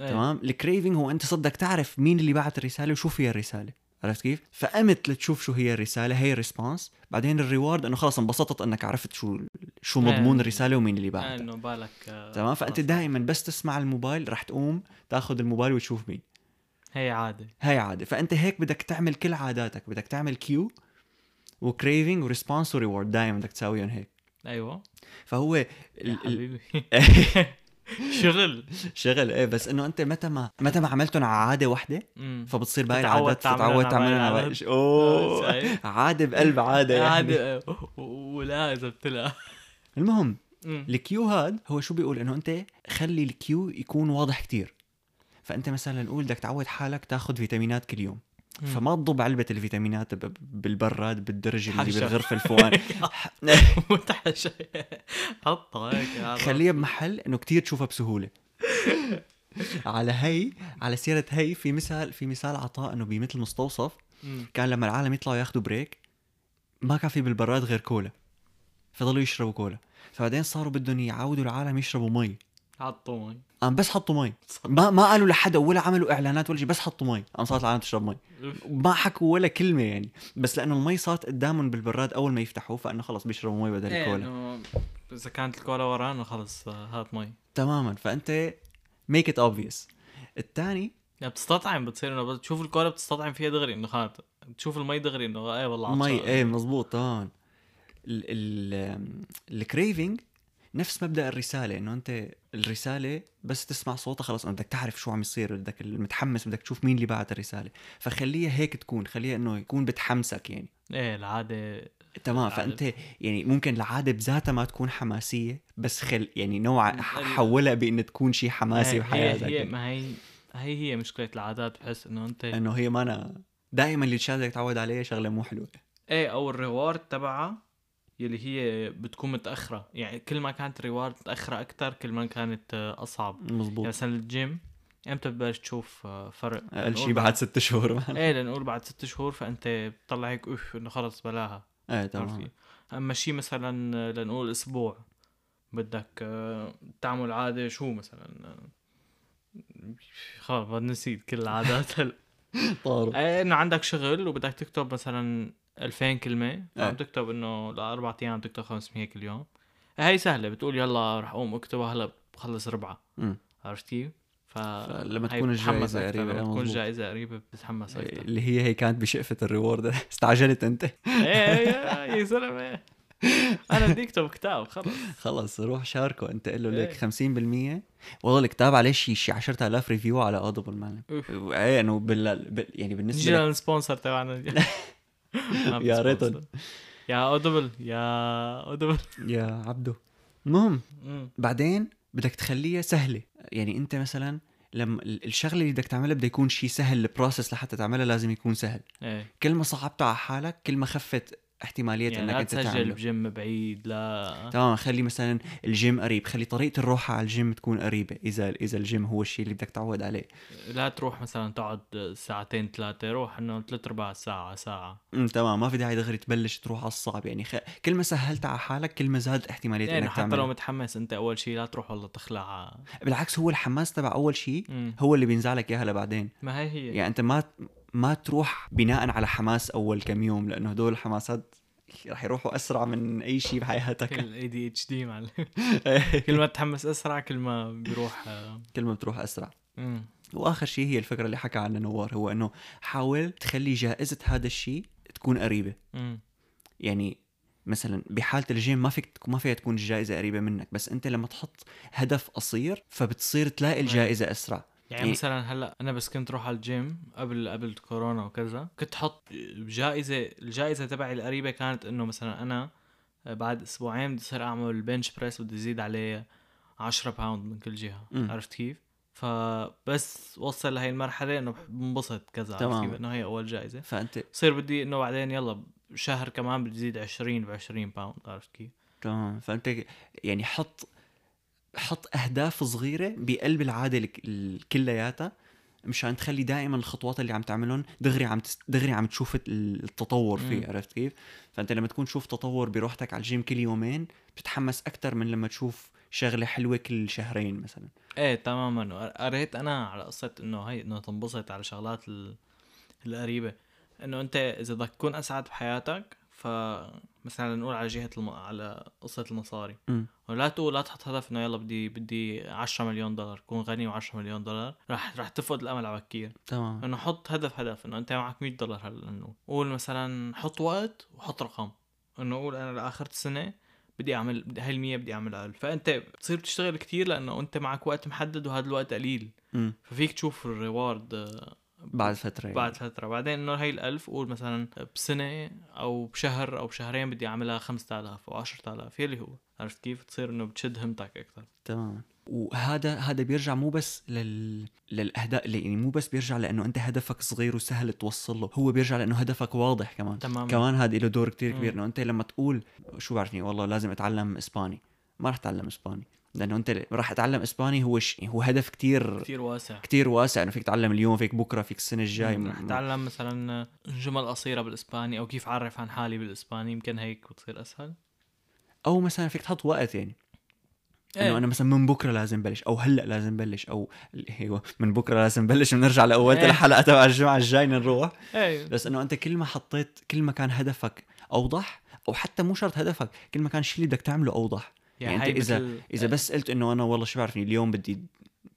[SPEAKER 2] إيه.
[SPEAKER 1] تمام الكريفنج هو انت صدك تعرف مين اللي بعت الرساله وشو فيها الرساله عرفت كيف؟ فقمت لتشوف شو هي الرساله هي الريسبونس بعدين الريورد انه خلص انبسطت انك عرفت شو شو
[SPEAKER 2] إيه.
[SPEAKER 1] مضمون الرساله ومين اللي
[SPEAKER 2] إيه،
[SPEAKER 1] بعتها
[SPEAKER 2] انه بالك آه،
[SPEAKER 1] تمام فانت
[SPEAKER 2] خلاص.
[SPEAKER 1] دائما بس تسمع الموبايل رح تقوم تاخذ الموبايل وتشوف مين
[SPEAKER 2] هي عاده
[SPEAKER 1] هاي عاده فانت هيك بدك تعمل كل عاداتك بدك تعمل كيو وكريفنج وريسبونس وريورد دائما بدك تساويهم هيك
[SPEAKER 2] ايوه
[SPEAKER 1] فهو ال-
[SPEAKER 2] يا
[SPEAKER 1] ال-
[SPEAKER 2] حبيبي شغل
[SPEAKER 1] شغل ايه بس انه انت متى ما متى ما عملتهم على عاده وحده
[SPEAKER 2] أمم.
[SPEAKER 1] فبتصير باقي
[SPEAKER 2] تتعود
[SPEAKER 1] العادات
[SPEAKER 2] تعملها آه.
[SPEAKER 1] تتعود
[SPEAKER 2] على
[SPEAKER 1] تعملها
[SPEAKER 2] باقي
[SPEAKER 1] على
[SPEAKER 2] العادات.
[SPEAKER 1] باقي- اوه
[SPEAKER 2] صحيح.
[SPEAKER 1] عاده بقلب عاده يعني عادة.
[SPEAKER 2] عادي و- ولا اذا بتلقى
[SPEAKER 1] المهم
[SPEAKER 2] أمم.
[SPEAKER 1] الكيو هاد هو شو بيقول انه انت خلي الكيو يكون واضح كتير فانت مثلا نقول بدك تعود حالك تاخذ فيتامينات كل يوم
[SPEAKER 2] مم.
[SPEAKER 1] فما تضب علبه الفيتامينات ب- بالبراد بالدرج اللي
[SPEAKER 2] حبشة.
[SPEAKER 1] بالغرفه الفوقانيه
[SPEAKER 2] متحش حطها هيك عرفت؟
[SPEAKER 1] خليها بمحل انه كتير تشوفها بسهوله على هي على سيره هي في مثال في مثال عطاء انه بمثل مستوصف
[SPEAKER 2] أمم.
[SPEAKER 1] كان لما العالم يطلعوا ياخذوا بريك ما كان في بالبراد غير كولا فضلوا يشربوا كولا فبعدين صاروا بدهم يعودوا العالم يشربوا مي
[SPEAKER 2] حطوا مي
[SPEAKER 1] قام بس حطوا مي ما ما قالوا لحدا ولا عملوا اعلانات ولا شيء بس حطوا مي قام صارت العالم تشرب مي ما حكوا ولا كلمه يعني بس لانه المي صارت قدامهم بالبراد اول ما يفتحوه فانه خلص بيشربوا مي بدل
[SPEAKER 2] إيه،
[SPEAKER 1] الكولا
[SPEAKER 2] إنه اذا كانت الكولا ورانا خلص آه، هات مي
[SPEAKER 1] تماما فانت ميك ات اوبفيوس الثاني
[SPEAKER 2] يعني بتستطعم بتصير انه بس تشوف الكولا بتستطعم فيها دغري انه خات تشوف المي دغري انه ايه والله عطشان.
[SPEAKER 1] مي ايه مزبوط تماما الكريفنج نفس مبدا الرساله انه انت الرساله بس تسمع صوتها خلاص انت بدك تعرف شو عم يصير بدك المتحمس بدك تشوف مين اللي بعت الرساله فخليها هيك تكون خليها انه يكون بتحمسك يعني
[SPEAKER 2] ايه العاده
[SPEAKER 1] تمام
[SPEAKER 2] العادة.
[SPEAKER 1] فانت يعني ممكن العاده بذاتها ما تكون حماسيه بس خل يعني نوع
[SPEAKER 2] ال-
[SPEAKER 1] حولها بان تكون شيء حماسي
[SPEAKER 2] إيه، هي-
[SPEAKER 1] بحياتك
[SPEAKER 2] هي, هي
[SPEAKER 1] يعني.
[SPEAKER 2] ما هي هي هي مشكله العادات بحس انه انت
[SPEAKER 1] انه هي ما أنا دائما اللي تشاهدك تعود عليه شغله مو حلوه
[SPEAKER 2] ايه او الريورد تبعها يلي هي بتكون متاخره يعني كل ما كانت الريورد متاخره اكثر كل ما كانت آه، اصعب يعني
[SPEAKER 1] مزبوط
[SPEAKER 2] مثلا الجيم امتى بتبلش تشوف آه، فرق
[SPEAKER 1] اقل شيء
[SPEAKER 2] نقول
[SPEAKER 1] بعد ست شهور
[SPEAKER 2] ايه لنقول بعد ست شهور فانت بتطلع هيك اوف انه خلص بلاها
[SPEAKER 1] ايه
[SPEAKER 2] عرفت
[SPEAKER 1] تمام
[SPEAKER 2] كيف؟ اما شيء مثلا آه، لنقول اسبوع بدك آه، تعمل عاده شو مثلا آه، خلص بدي نسيت كل العادات هلا
[SPEAKER 1] طارق
[SPEAKER 2] إيه، انه عندك شغل وبدك تكتب مثلا 2000 كلمه
[SPEAKER 1] إيه.
[SPEAKER 2] عم تكتب انه لاربع ايام تكتب 500 كل يوم هاي سهله بتقول يلا رح اقوم اكتبها هلا بخلص ربعها
[SPEAKER 1] مم.
[SPEAKER 2] عرفت كيف؟ ف
[SPEAKER 1] فلما
[SPEAKER 2] هاي
[SPEAKER 1] تكون
[SPEAKER 2] بتحمسك
[SPEAKER 1] الجائزة
[SPEAKER 2] أكتر،
[SPEAKER 1] قريبة، آه،
[SPEAKER 2] لما
[SPEAKER 1] إيه.
[SPEAKER 2] تكون
[SPEAKER 1] مزبوط.
[SPEAKER 2] الجائزه قريبه بتتحمس اكثر
[SPEAKER 1] اللي هي هي كانت بشقفة الريورد استعجلت انت
[SPEAKER 2] ايه إيه، يا زلمه انا بدي اكتب كتاب خلص
[SPEAKER 1] خلص روح شاركه انت قول له
[SPEAKER 2] إيه.
[SPEAKER 1] ليك 50% والله الكتاب عليه شي شي 10000 ريفيو على اودبل مان
[SPEAKER 2] أوف.
[SPEAKER 1] ايه انه بال... بال... يعني بالنسبه
[SPEAKER 2] نجي
[SPEAKER 1] لك
[SPEAKER 2] للسبونسر تبعنا ما في
[SPEAKER 1] يا ريتن.
[SPEAKER 2] سبونسر. يا اودبل يا اودبل
[SPEAKER 1] يا عبدو المهم
[SPEAKER 2] مم.
[SPEAKER 1] بعدين بدك تخليها سهله يعني انت مثلا لما ال- الشغله اللي بدك تعملها بده يكون شيء سهل البروسس لحتى تعملها لازم يكون سهل
[SPEAKER 2] ايه
[SPEAKER 1] كل ما صعبتها على حالك كل ما خفت احتماليه
[SPEAKER 2] يعني
[SPEAKER 1] انك
[SPEAKER 2] لا
[SPEAKER 1] انت
[SPEAKER 2] تسجل
[SPEAKER 1] تعمله
[SPEAKER 2] بجيم بعيد لا
[SPEAKER 1] تمام خلي مثلا الجيم قريب خلي طريقه الروحه على الجيم تكون قريبه اذا اذا الجيم هو الشيء اللي بدك تعود عليه
[SPEAKER 2] لا تروح مثلا تقعد ساعتين ثلاثة روح انه ثلاث ارباع ساعة ساعة
[SPEAKER 1] أمم، تمام ما في داعي دغري تبلش تروح على الصعب يعني خ... كل ما سهلت على حالك كل ما زاد احتماليه
[SPEAKER 2] يعني
[SPEAKER 1] انك
[SPEAKER 2] حتى لو
[SPEAKER 1] إيه، تعمل
[SPEAKER 2] متحمس انت اول شيء لا تروح والله تخلع
[SPEAKER 1] بالعكس هو الحماس تبع اول شيء
[SPEAKER 2] مم.
[SPEAKER 1] هو اللي بينزع لك اياها لبعدين
[SPEAKER 2] ما هي هي
[SPEAKER 1] يعني انت ما ما تروح بناء على حماس اول كم يوم لانه هدول الحماسات رح يروحوا اسرع من اي شيء بحياتك
[SPEAKER 2] كل اي دي اتش دي معلم كل ما تتحمس اسرع كل ما بيروح آه،
[SPEAKER 1] كل ما بتروح اسرع
[SPEAKER 2] مم.
[SPEAKER 1] واخر شيء هي الفكره اللي حكى عنها نوار هو انه حاول تخلي جائزه هذا الشيء تكون قريبه
[SPEAKER 2] مم.
[SPEAKER 1] يعني مثلا بحاله الجيم ما فيك ما فيها تكون الجائزه قريبه منك بس انت لما تحط هدف قصير فبتصير تلاقي الجائزه اسرع
[SPEAKER 2] يعني
[SPEAKER 1] يعني-
[SPEAKER 2] مثلا هلا انا بس كنت روح على الجيم قبل قبل كورونا وكذا كنت حط جائزه الجائزه تبعي القريبه كانت انه مثلا انا بعد اسبوعين بدي صير اعمل بنش بريس بدي ازيد عليه 10 باوند من كل جهه
[SPEAKER 1] مم.
[SPEAKER 2] عرفت كيف؟ فبس وصل لهي المرحله انه بنبسط كذا عرفت
[SPEAKER 1] تمام.
[SPEAKER 2] كيف؟ انه هي اول جائزه
[SPEAKER 1] فانت
[SPEAKER 2] بصير بدي انه بعدين يلا شهر كمان بتزيد 20 ب 20 باوند عرفت كيف؟
[SPEAKER 1] تمام فانت يعني حط حط اهداف صغيره بقلب العاده الك- ال- كلياتها مشان تخلي دائما الخطوات اللي عم تعملهم دغري عم تس- دغري عم تشوف ال- التطور فيه
[SPEAKER 2] مم.
[SPEAKER 1] عرفت كيف؟ فانت لما تكون تشوف تطور بروحتك على الجيم كل يومين بتتحمس اكثر من لما تشوف شغله حلوه كل شهرين مثلا
[SPEAKER 2] ايه تماما وقر- قريت انا على قصه انه هي انه تنبسط على شغلات ال- القريبه انه انت اذا بدك تكون اسعد بحياتك فمثلا نقول على جهه الم... على قصه المصاري
[SPEAKER 1] مم.
[SPEAKER 2] ولا تقول لا تحط هدف انه يلا بدي بدي 10 مليون دولار كون غني و10 مليون دولار رح رح تفقد الامل على بكير
[SPEAKER 1] تمام
[SPEAKER 2] انه حط هدف هدف انه انت معك 100 دولار هلا انه قول مثلا حط وقت وحط رقم انه قول انا لاخر السنه بدي اعمل بدي- هاي المية بدي اعملها ألف فانت بتصير بتشتغل كتير لانه انت معك وقت محدد وهذا الوقت قليل
[SPEAKER 1] مم.
[SPEAKER 2] ففيك تشوف الريوارد آه،
[SPEAKER 1] بعد فتره يعني.
[SPEAKER 2] بعد فتره بعدين انه هاي الألف قول مثلا بسنه او بشهر او بشهرين بدي اعملها 5000 او 10000 يلي هو عرفت كيف تصير انه بتشد همتك اكثر
[SPEAKER 1] تمام وهذا هذا بيرجع مو بس لل للاهداف يعني مو بس بيرجع لانه انت هدفك صغير وسهل توصل له هو بيرجع لانه هدفك واضح كمان
[SPEAKER 2] تماما.
[SPEAKER 1] كمان هذا له دور كتير كبير
[SPEAKER 2] مم.
[SPEAKER 1] انه انت لما تقول شو بعرفني والله لازم اتعلم اسباني ما رح اتعلم اسباني لانه انت ل- راح اتعلم اسباني هو ش... هو هدف كتير
[SPEAKER 2] كتير واسع
[SPEAKER 1] كتير واسع انه فيك تعلم اليوم فيك بكره فيك السنه الجاي
[SPEAKER 2] رح اتعلم مثلا جمل قصيره بالاسباني او كيف اعرف عن حالي بالاسباني يمكن هيك بتصير اسهل
[SPEAKER 1] او مثلا فيك تحط وقت يعني انه
[SPEAKER 2] إيه.
[SPEAKER 1] انا مثلا من بكره لازم بلش او هلا لازم بلش او ايوه من بكره لازم بلش بنرجع لاول
[SPEAKER 2] إيه.
[SPEAKER 1] الحلقه تبع الجمعه الجاي نروح
[SPEAKER 2] ايه
[SPEAKER 1] بس انه انت كل ما حطيت كل ما كان هدفك اوضح او حتى مو شرط هدفك كل ما كان الشيء اللي بدك تعمله اوضح يعني
[SPEAKER 2] هاي
[SPEAKER 1] انت اذا
[SPEAKER 2] مثل-
[SPEAKER 1] اذا بس قلت انه انا والله شو بعرفني اليوم بدي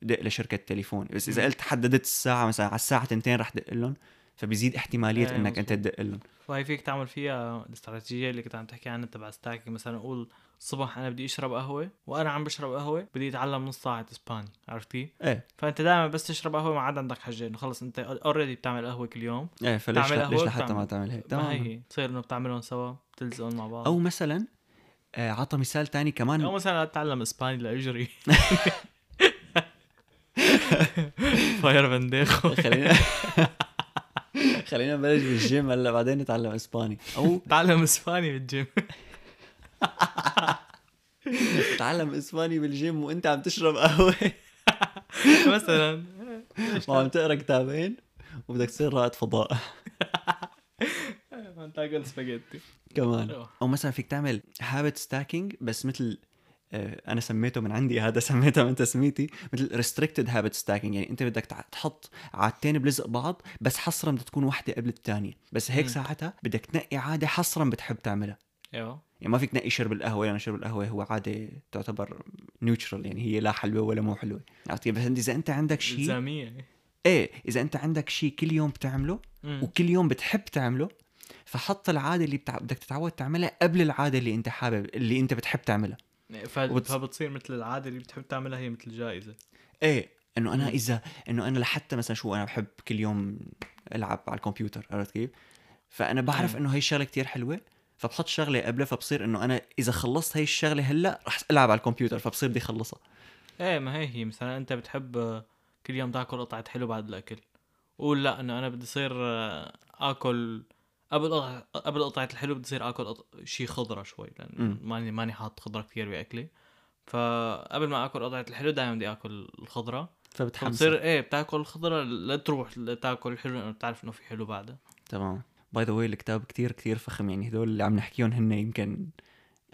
[SPEAKER 1] دق لشركه تليفون بس
[SPEAKER 2] إيه.
[SPEAKER 1] اذا قلت حددت الساعه مثلا على الساعه 2 رح دق لهم فبيزيد احتماليه
[SPEAKER 2] إيه،
[SPEAKER 1] انك انت
[SPEAKER 2] مظبوط.
[SPEAKER 1] تدق لهم
[SPEAKER 2] وهي فيك تعمل فيها الاستراتيجيه اللي كنت عم تحكي عنها تبع ستاكي مثلا اقول الصبح انا بدي اشرب قهوه وانا عم بشرب قهوه بدي اتعلم نص ساعه اسباني عرفتي
[SPEAKER 1] ايه
[SPEAKER 2] فانت دائما بس تشرب قهوه ما عاد عندك حجه انه خلص انت اوريدي بتعمل قهوه كل يوم
[SPEAKER 1] ايه فليش
[SPEAKER 2] تعمل
[SPEAKER 1] ليش
[SPEAKER 2] قهوة
[SPEAKER 1] لحتى ما
[SPEAKER 2] وبتعمل-
[SPEAKER 1] تعمل هيك
[SPEAKER 2] ما
[SPEAKER 1] تمام
[SPEAKER 2] هي بتصير انه بتعملهم سوا بتلزقهم مع بعض
[SPEAKER 1] او
[SPEAKER 2] او,
[SPEAKER 1] مثلا آه، عطى مثال تاني كمان
[SPEAKER 2] أو مثلا اتعلم اسباني لاجري فاير فانديخو
[SPEAKER 1] خلينا خلينا نبلش بالجيم هلا بعدين نتعلم اسباني او
[SPEAKER 2] تعلم اسباني بالجيم
[SPEAKER 1] تعلم اسباني بالجيم وانت عم تشرب قهوه
[SPEAKER 2] مثلا
[SPEAKER 1] وعم تقرا كتابين وبدك تصير رائد فضاء
[SPEAKER 2] تاكل سباجيتي أيوه.
[SPEAKER 1] كمان او مثلا فيك تعمل هابت ستاكينج بس مثل آه، انا سميته من عندي هذا سميته من تسميتي مثل ريستريكتد هابت ستاكينج يعني انت بدك تع- تحط عادتين بلزق بعض بس حصرا بدها تكون واحده قبل الثانيه بس هيك
[SPEAKER 2] مم.
[SPEAKER 1] ساعتها بدك تنقي عاده حصرا بتحب تعملها
[SPEAKER 2] ايوه
[SPEAKER 1] يعني ما فيك تنقي شرب القهوه لانه شرب القهوه هو عاده تعتبر نيوترال يعني هي لا حلوه ولا مو حلوه عرفت كيف؟ بس أنت اذا انت عندك شيء
[SPEAKER 2] الزاميه
[SPEAKER 1] ايه اذا انت عندك شيء كل يوم بتعمله
[SPEAKER 2] مم.
[SPEAKER 1] وكل يوم بتحب تعمله فحط العاده اللي بتع... بدك تتعود تعملها قبل العاده اللي انت حابب اللي انت بتحب تعملها
[SPEAKER 2] ف-
[SPEAKER 1] وبت-
[SPEAKER 2] فبتصير مثل العاده اللي بتحب تعملها هي مثل جائزه
[SPEAKER 1] ايه انه انا
[SPEAKER 2] مم.
[SPEAKER 1] اذا انه انا لحتى مثلا شو انا بحب كل يوم العب على الكمبيوتر عرفت كيف؟ فانا بعرف
[SPEAKER 2] مم.
[SPEAKER 1] انه هي الشغله كتير حلوه فبحط شغله قبلها فبصير انه انا اذا خلصت هي الشغله هلا رح العب على الكمبيوتر فبصير بدي اخلصها
[SPEAKER 2] ايه ما هي هي مثلا انت بتحب آه، كل يوم تاكل قطعه حلو بعد الاكل قول لا انه انا بدي صير آه، اكل قبل قطعة قبل قطعة الحلو بدي صير اكل قط... شيء خضرة شوي لان
[SPEAKER 1] مم.
[SPEAKER 2] ماني ماني حاط خضرة كثير باكلي فقبل ما اكل قطعة الحلو دائما بدي اكل الخضرة
[SPEAKER 1] فبتحمس
[SPEAKER 2] فبتصير ايه بتاكل الخضرة لا تروح تاكل الحلو لانه بتعرف انه في حلو بعدها
[SPEAKER 1] تمام باي ذا واي الكتاب كتير كتير فخم يعني هدول اللي عم نحكيهم هن يمكن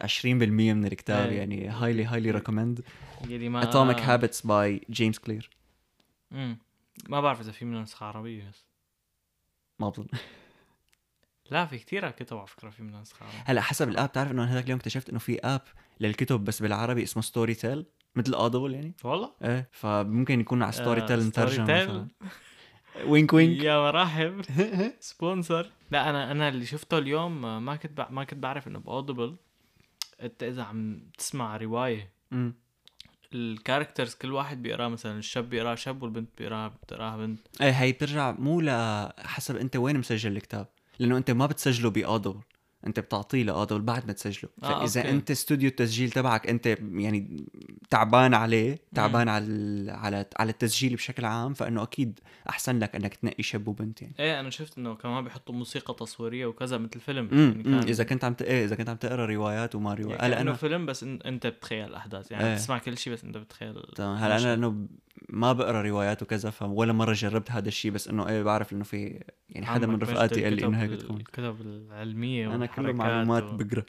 [SPEAKER 1] 20% من الكتاب
[SPEAKER 2] إيه. آه.
[SPEAKER 1] يعني هايلي هايلي ريكومند
[SPEAKER 2] يلي يعني ما
[SPEAKER 1] اتوميك
[SPEAKER 2] أنا-
[SPEAKER 1] هابتس باي جيمس كلير
[SPEAKER 2] مم. ما بعرف اذا في منه نسخة عربية بس
[SPEAKER 1] ما بظن
[SPEAKER 2] لا في كثير كتب على فكرة في منه نسخة عربية
[SPEAKER 1] هلا حسب الاب تعرف انه أنا هذاك اليوم اكتشفت انه في اب للكتب بس بالعربي اسمه ستوري تيل مثل اودبل يعني
[SPEAKER 2] والله
[SPEAKER 1] ايه فممكن يكون على ستوري
[SPEAKER 2] آه،
[SPEAKER 1] تيل
[SPEAKER 2] Storytel.
[SPEAKER 1] مترجم مثلا وينك وينك
[SPEAKER 2] يا مرحب سبونسر لا انا انا اللي شفته اليوم آه، ما كنت بع- ما كنت بعرف انه باودبل انت اذا عم تسمع روايه
[SPEAKER 1] مم.
[SPEAKER 2] الكاركترز كل واحد بيقراه مثلا الشاب بيقراه شاب والبنت بيقراها بتقراها بنت
[SPEAKER 1] ايه هي بترجع مو لحسب انت وين مسجل الكتاب لانه انت ما بتسجله باودبل انت بتعطيه لاودبل بعد ما تسجله
[SPEAKER 2] آه،
[SPEAKER 1] فاذا
[SPEAKER 2] أوكي.
[SPEAKER 1] انت استوديو التسجيل تبعك انت يعني تعبان عليه تعبان على ال- على على التسجيل بشكل عام فانه اكيد احسن لك انك تنقي شاب وبنت يعني
[SPEAKER 2] ايه انا شفت انه كمان بيحطوا موسيقى تصويريه وكذا مثل فيلم
[SPEAKER 1] امم
[SPEAKER 2] يعني كان-
[SPEAKER 1] اذا كنت عم ت... إيه اذا كنت عم تقرا روايات وما آه،
[SPEAKER 2] يعني
[SPEAKER 1] روايات هلا
[SPEAKER 2] كانه
[SPEAKER 1] انا
[SPEAKER 2] فيلم بس إن انت بتخيل الاحداث يعني
[SPEAKER 1] إيه.
[SPEAKER 2] بتسمع كل شيء بس انت بتخيل
[SPEAKER 1] تمام آه، هلا انا لانه ما بقرا روايات وكذا فولا مره جربت هذا الشيء بس انه ايه بعرف انه في يعني حدا من
[SPEAKER 2] عمك مجد
[SPEAKER 1] رفقاتي قال لي انه
[SPEAKER 2] الكتب-
[SPEAKER 1] هيك تكون
[SPEAKER 2] الكتب العلميه
[SPEAKER 1] انا كله
[SPEAKER 2] والحركات
[SPEAKER 1] معلومات
[SPEAKER 2] و-
[SPEAKER 1] بقرا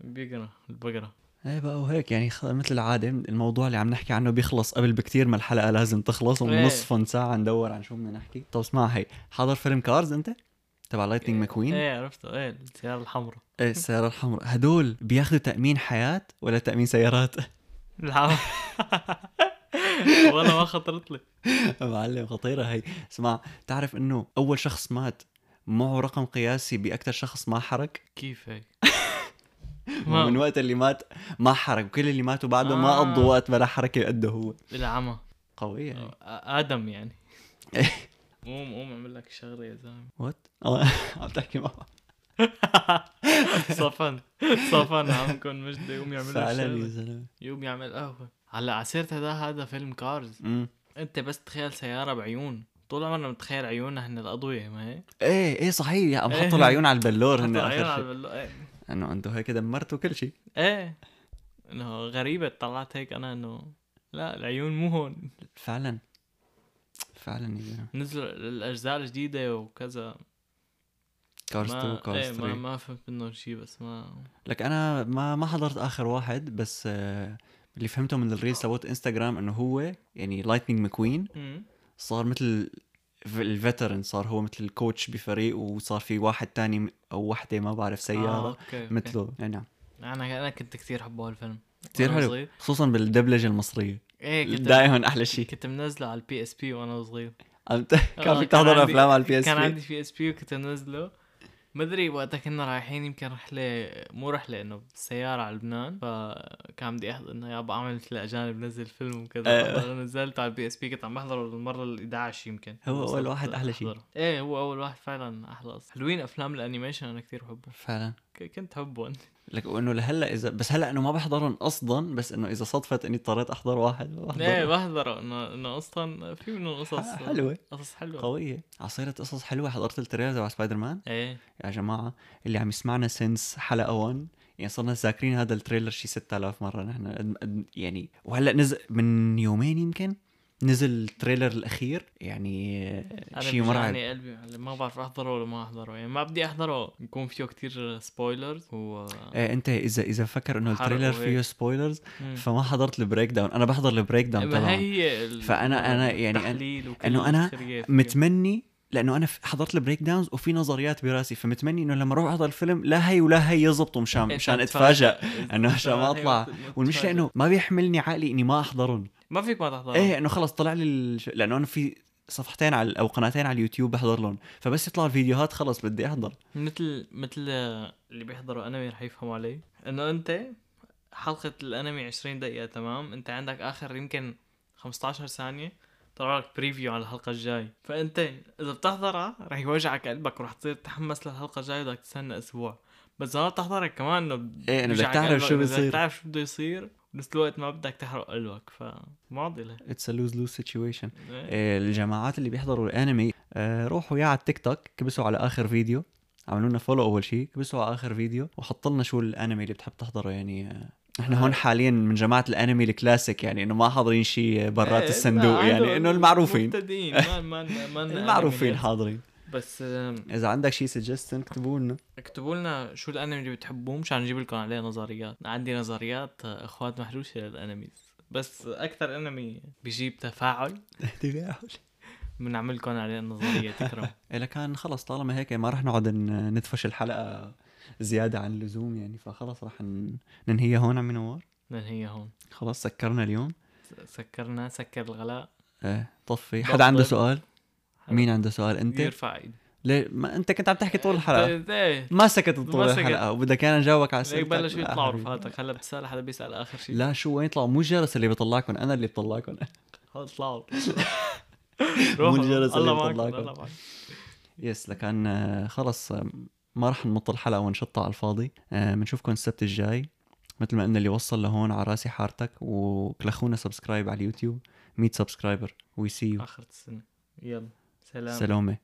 [SPEAKER 2] بيقرا البقره
[SPEAKER 1] ايه بقى وهيك يعني خ... مثل العادة الموضوع اللي عم نحكي عنه بيخلص قبل بكتير ما الحلقة لازم تخلص
[SPEAKER 2] إيه.
[SPEAKER 1] ونص فن ساعة ندور عن شو بدنا نحكي طب اسمع هي حاضر فيلم كارز انت؟ تبع لايتنينج ماكوين
[SPEAKER 2] ايه عرفته ايه السياره الحمراء
[SPEAKER 1] ايه السيارة الحمراء هدول بياخذوا تأمين حياة ولا تأمين سيارات؟
[SPEAKER 2] العام والله ما خطرت لي
[SPEAKER 1] معلم خطيرة هي اسمع تعرف انه اول شخص مات معه رقم قياسي باكثر شخص ما حرك
[SPEAKER 2] كيف هيك
[SPEAKER 1] ومن
[SPEAKER 2] ما
[SPEAKER 1] وقت اللي مات ما حرك وكل اللي ماتوا بعده ما
[SPEAKER 2] آه.
[SPEAKER 1] قضوا وقت بلا حركة قده هو
[SPEAKER 2] العمى
[SPEAKER 1] قوية
[SPEAKER 2] آه.
[SPEAKER 1] هي.
[SPEAKER 2] ادم يعني
[SPEAKER 1] إيه.
[SPEAKER 2] قوم قوم اعمل لك شغله يا زلمه
[SPEAKER 1] وات آه، عم تحكي معه
[SPEAKER 2] صفن صفن عمكم مجدي يقوم يعمل لك
[SPEAKER 1] فعلا يا
[SPEAKER 2] شغله
[SPEAKER 1] زلمة
[SPEAKER 2] يقوم يعمل قهوه هلا على سيرة هذا هذا فيلم كارز
[SPEAKER 1] أمم.
[SPEAKER 2] انت بس تخيل سياره بعيون طول عمرنا بنتخيل عيوننا هن الاضوية ما هيك
[SPEAKER 1] ايه ايه صحيح يا عم
[SPEAKER 2] إيه.
[SPEAKER 1] حطوا العيون على البلور هن
[SPEAKER 2] حتى عيون
[SPEAKER 1] اخر
[SPEAKER 2] على
[SPEAKER 1] شيء
[SPEAKER 2] البلو ايه
[SPEAKER 1] انه انتم هيك دمرتوا كل شيء
[SPEAKER 2] ايه انه غريبة طلعت هيك انا انه لا العيون مو هون
[SPEAKER 1] فعلا فعلا يا زلمة
[SPEAKER 2] نزل الاجزاء الجديدة وكذا
[SPEAKER 1] كارز 2
[SPEAKER 2] ما
[SPEAKER 1] كارز
[SPEAKER 2] ايه ما,
[SPEAKER 1] 3
[SPEAKER 2] ما فهمت منه شيء بس ما
[SPEAKER 1] لك انا ما ما حضرت اخر واحد بس آه، اللي فهمته من الريل سوت انستغرام انه هو يعني لايتنينج ماكوين
[SPEAKER 2] مم.
[SPEAKER 1] صار مثل الفترن صار هو مثل الكوتش بفريق وصار في واحد تاني او وحده ما بعرف
[SPEAKER 2] آه،
[SPEAKER 1] سياره
[SPEAKER 2] أوكي، أوكي.
[SPEAKER 1] مثله يعني نعم
[SPEAKER 2] انا انا كنت كثير حبه هالفيلم
[SPEAKER 1] كثير
[SPEAKER 2] وأنا
[SPEAKER 1] حلو
[SPEAKER 2] صغير.
[SPEAKER 1] خصوصا بالدبلجه المصريه
[SPEAKER 2] ايه كنت
[SPEAKER 1] دايما احلى شيء
[SPEAKER 2] كنت منزله على البي اس بي وانا صغير
[SPEAKER 1] عم ت-
[SPEAKER 2] آه،
[SPEAKER 1] كان فيك تحضر
[SPEAKER 2] عندي-
[SPEAKER 1] افلام على إيه؟ البي اس
[SPEAKER 2] كان
[SPEAKER 1] بي
[SPEAKER 2] عندي بي اس بي وكنت منزله مدري وقتها كنا رايحين يمكن رحلة مو رحلة انه سيارة على لبنان فكان بدي احضر انه يابا اعمل مثل الاجانب نزل فيلم
[SPEAKER 1] آه.
[SPEAKER 2] وكذا فأنا نزلت على البي اس بي كنت عم بحضره المرة ال 11 يمكن
[SPEAKER 1] هو أول
[SPEAKER 2] وصلت
[SPEAKER 1] واحد أحلى شي.
[SPEAKER 2] أحضره. ايه هو اول واحد فعلا احلى أصلاً. حلوين افلام الانيميشن انا كثير بحبهم
[SPEAKER 1] فعلا
[SPEAKER 2] ك- كنت حبهم
[SPEAKER 1] لك وانه لهلا اذا بس هلا انه ما بحضرهم قصدا بس انه اذا صدفت اني اضطريت احضر واحد بحضر.
[SPEAKER 2] ايه بحضره انه انه اصلا في منهم قصص
[SPEAKER 1] ح- حلوه
[SPEAKER 2] قصص حلوة
[SPEAKER 1] قويه آه، عصيرة قصص حلوه حضرت التريلر تبع سبايدر مان
[SPEAKER 2] ايه
[SPEAKER 1] يا جماعه اللي عم يسمعنا سنس حلقه 1 يعني صرنا ذاكرين هذا التريلر شي 6000 مره نحن قد- قد- يعني وهلا نزل من يومين يمكن نزل التريلر الاخير يعني
[SPEAKER 2] انا
[SPEAKER 1] شيء مرعب
[SPEAKER 2] بيوجعني يعني قلبي هلا ما بعرف احضره ولا ما احضره يعني ما بدي احضره يكون فيه كتير سبويلرز و إيه.
[SPEAKER 1] آه انت اذا اذا فكر انه
[SPEAKER 2] حرق
[SPEAKER 1] التريلر
[SPEAKER 2] وهيك.
[SPEAKER 1] فيه سبويلرز
[SPEAKER 2] مم. إيه،
[SPEAKER 1] فما حضرت البريك داون انا بحضر البريك داون
[SPEAKER 2] ما
[SPEAKER 1] تبعه
[SPEAKER 2] هي ال-
[SPEAKER 1] فأنا- أنا يعني أنا-
[SPEAKER 2] التحليل وكل
[SPEAKER 1] إنه أنا
[SPEAKER 2] الخرية فيه.
[SPEAKER 1] متمني لانه انا ف- حضرت البريك داونز وفي نظريات براسي فمتمني انه لما اروح احضر الفيلم لا هي ولا هي يزبطوا مشان
[SPEAKER 2] إيه،
[SPEAKER 1] مشان
[SPEAKER 2] فأتفاجأ.
[SPEAKER 1] اتفاجئ إنه عشان ما
[SPEAKER 2] فهي
[SPEAKER 1] أطلع.
[SPEAKER 2] مت-
[SPEAKER 1] والمشكله
[SPEAKER 2] متفاجأ.
[SPEAKER 1] انه ما بيحملني عقلي اني ما احضرهم
[SPEAKER 2] أيوة، ما فيك ما تحضره
[SPEAKER 1] ايه انه خلص طلع لي الش... لانه انا في صفحتين على او قناتين على اليوتيوب بحضر لهم فبس يطلع الفيديوهات خلص بدي احضر
[SPEAKER 2] مثل مثل اللي بيحضروا انمي رح يفهموا علي انه انت حلقة الانمي 20 دقيقة تمام انت عندك اخر يمكن 15 ثانية طلع لك بريفيو على الحلقة الجاي فانت اذا بتحضرها رح يوجعك قلبك ورح تصير تتحمس للحلقة الجاية بدك تستنى اسبوع بس اذا ما بتحضرها كمان انه ب-
[SPEAKER 1] إيه، إنه بدك
[SPEAKER 2] بيوجعك
[SPEAKER 1] تعرف
[SPEAKER 2] قلبك،
[SPEAKER 1] شو
[SPEAKER 2] بدك
[SPEAKER 1] بيصير.
[SPEAKER 2] تعرف شو بده يصير بنفس الوقت ما بدك تحرق قلبك فمعضلة
[SPEAKER 1] اتس لوز لوز سيتويشن
[SPEAKER 2] إيه.
[SPEAKER 1] الجماعات آه، اللي بيحضروا الانمي آه، روحوا يا على التيك توك كبسوا على اخر فيديو عملوا لنا فولو اول شيء كبسوا على اخر فيديو وحطوا لنا شو الانمي اللي بتحب تحضره يعني آه، نحن هون حاليا من جماعه الانمي الكلاسيك يعني انه ما حاضرين شيء برات
[SPEAKER 2] إيه،
[SPEAKER 1] الصندوق
[SPEAKER 2] لا، هدول
[SPEAKER 1] يعني انه المعروفين
[SPEAKER 2] مبتدئين ما ما ما
[SPEAKER 1] المعروفين
[SPEAKER 2] أنميات.
[SPEAKER 1] حاضرين
[SPEAKER 2] بس آم،
[SPEAKER 1] اذا عندك شيء سجستن اكتبوا لنا
[SPEAKER 2] اكتبوا لنا شو الانمي اللي بتحبوه مشان نجيب لكم عليه نظريات عندي نظريات آه، اخوات محروشه للانميز بس اكثر انمي بجيب تفاعل
[SPEAKER 1] تفاعل
[SPEAKER 2] بنعمل لكم عليه نظريه تكرم
[SPEAKER 1] إيه كان خلص طالما هيك ما رح نقعد ن- ندفش الحلقة زيادة عن اللزوم يعني فخلص رح ن- ننهيها هون عم نور
[SPEAKER 2] لان هي هون
[SPEAKER 1] خلص سكرنا اليوم
[SPEAKER 2] س- سكرنا سكر الغلاء
[SPEAKER 1] ايه طفي
[SPEAKER 2] بفضل.
[SPEAKER 1] حدا عنده سؤال مين عنده سؤال انت
[SPEAKER 2] يرفع ايده
[SPEAKER 1] ليه ما انت كنت عم تحكي طول الحلقة
[SPEAKER 2] طيب، ايه
[SPEAKER 1] ما سكت
[SPEAKER 2] ما
[SPEAKER 1] طول
[SPEAKER 2] سكت.
[SPEAKER 1] الحلقة وبدك انا جاوبك على
[SPEAKER 2] ليك
[SPEAKER 1] سؤال
[SPEAKER 2] إيه، بلش يطلعوا رفقاتك هلا بتسال حدا بيسال اخر شيء
[SPEAKER 1] لا شو وين يطلعوا مو الجرس اللي بيطلعكم انا اللي بطلعكم
[SPEAKER 2] هلا اطلعوا روحوا.
[SPEAKER 1] الجرس اللي
[SPEAKER 2] الله معكم
[SPEAKER 1] بيطلعكم.
[SPEAKER 2] الله معكم
[SPEAKER 1] يس لكان آه، خلص آه، ما رح نمط الحلقة ونشطها على الفاضي بنشوفكم آه، السبت الجاي مثل ما قلنا اللي وصل لهون على راسي حارتك وكلخونا سبسكرايب على اليوتيوب 100 سبسكرايبر وي سي يو
[SPEAKER 2] اخر السنه يلا سلام
[SPEAKER 1] سلامه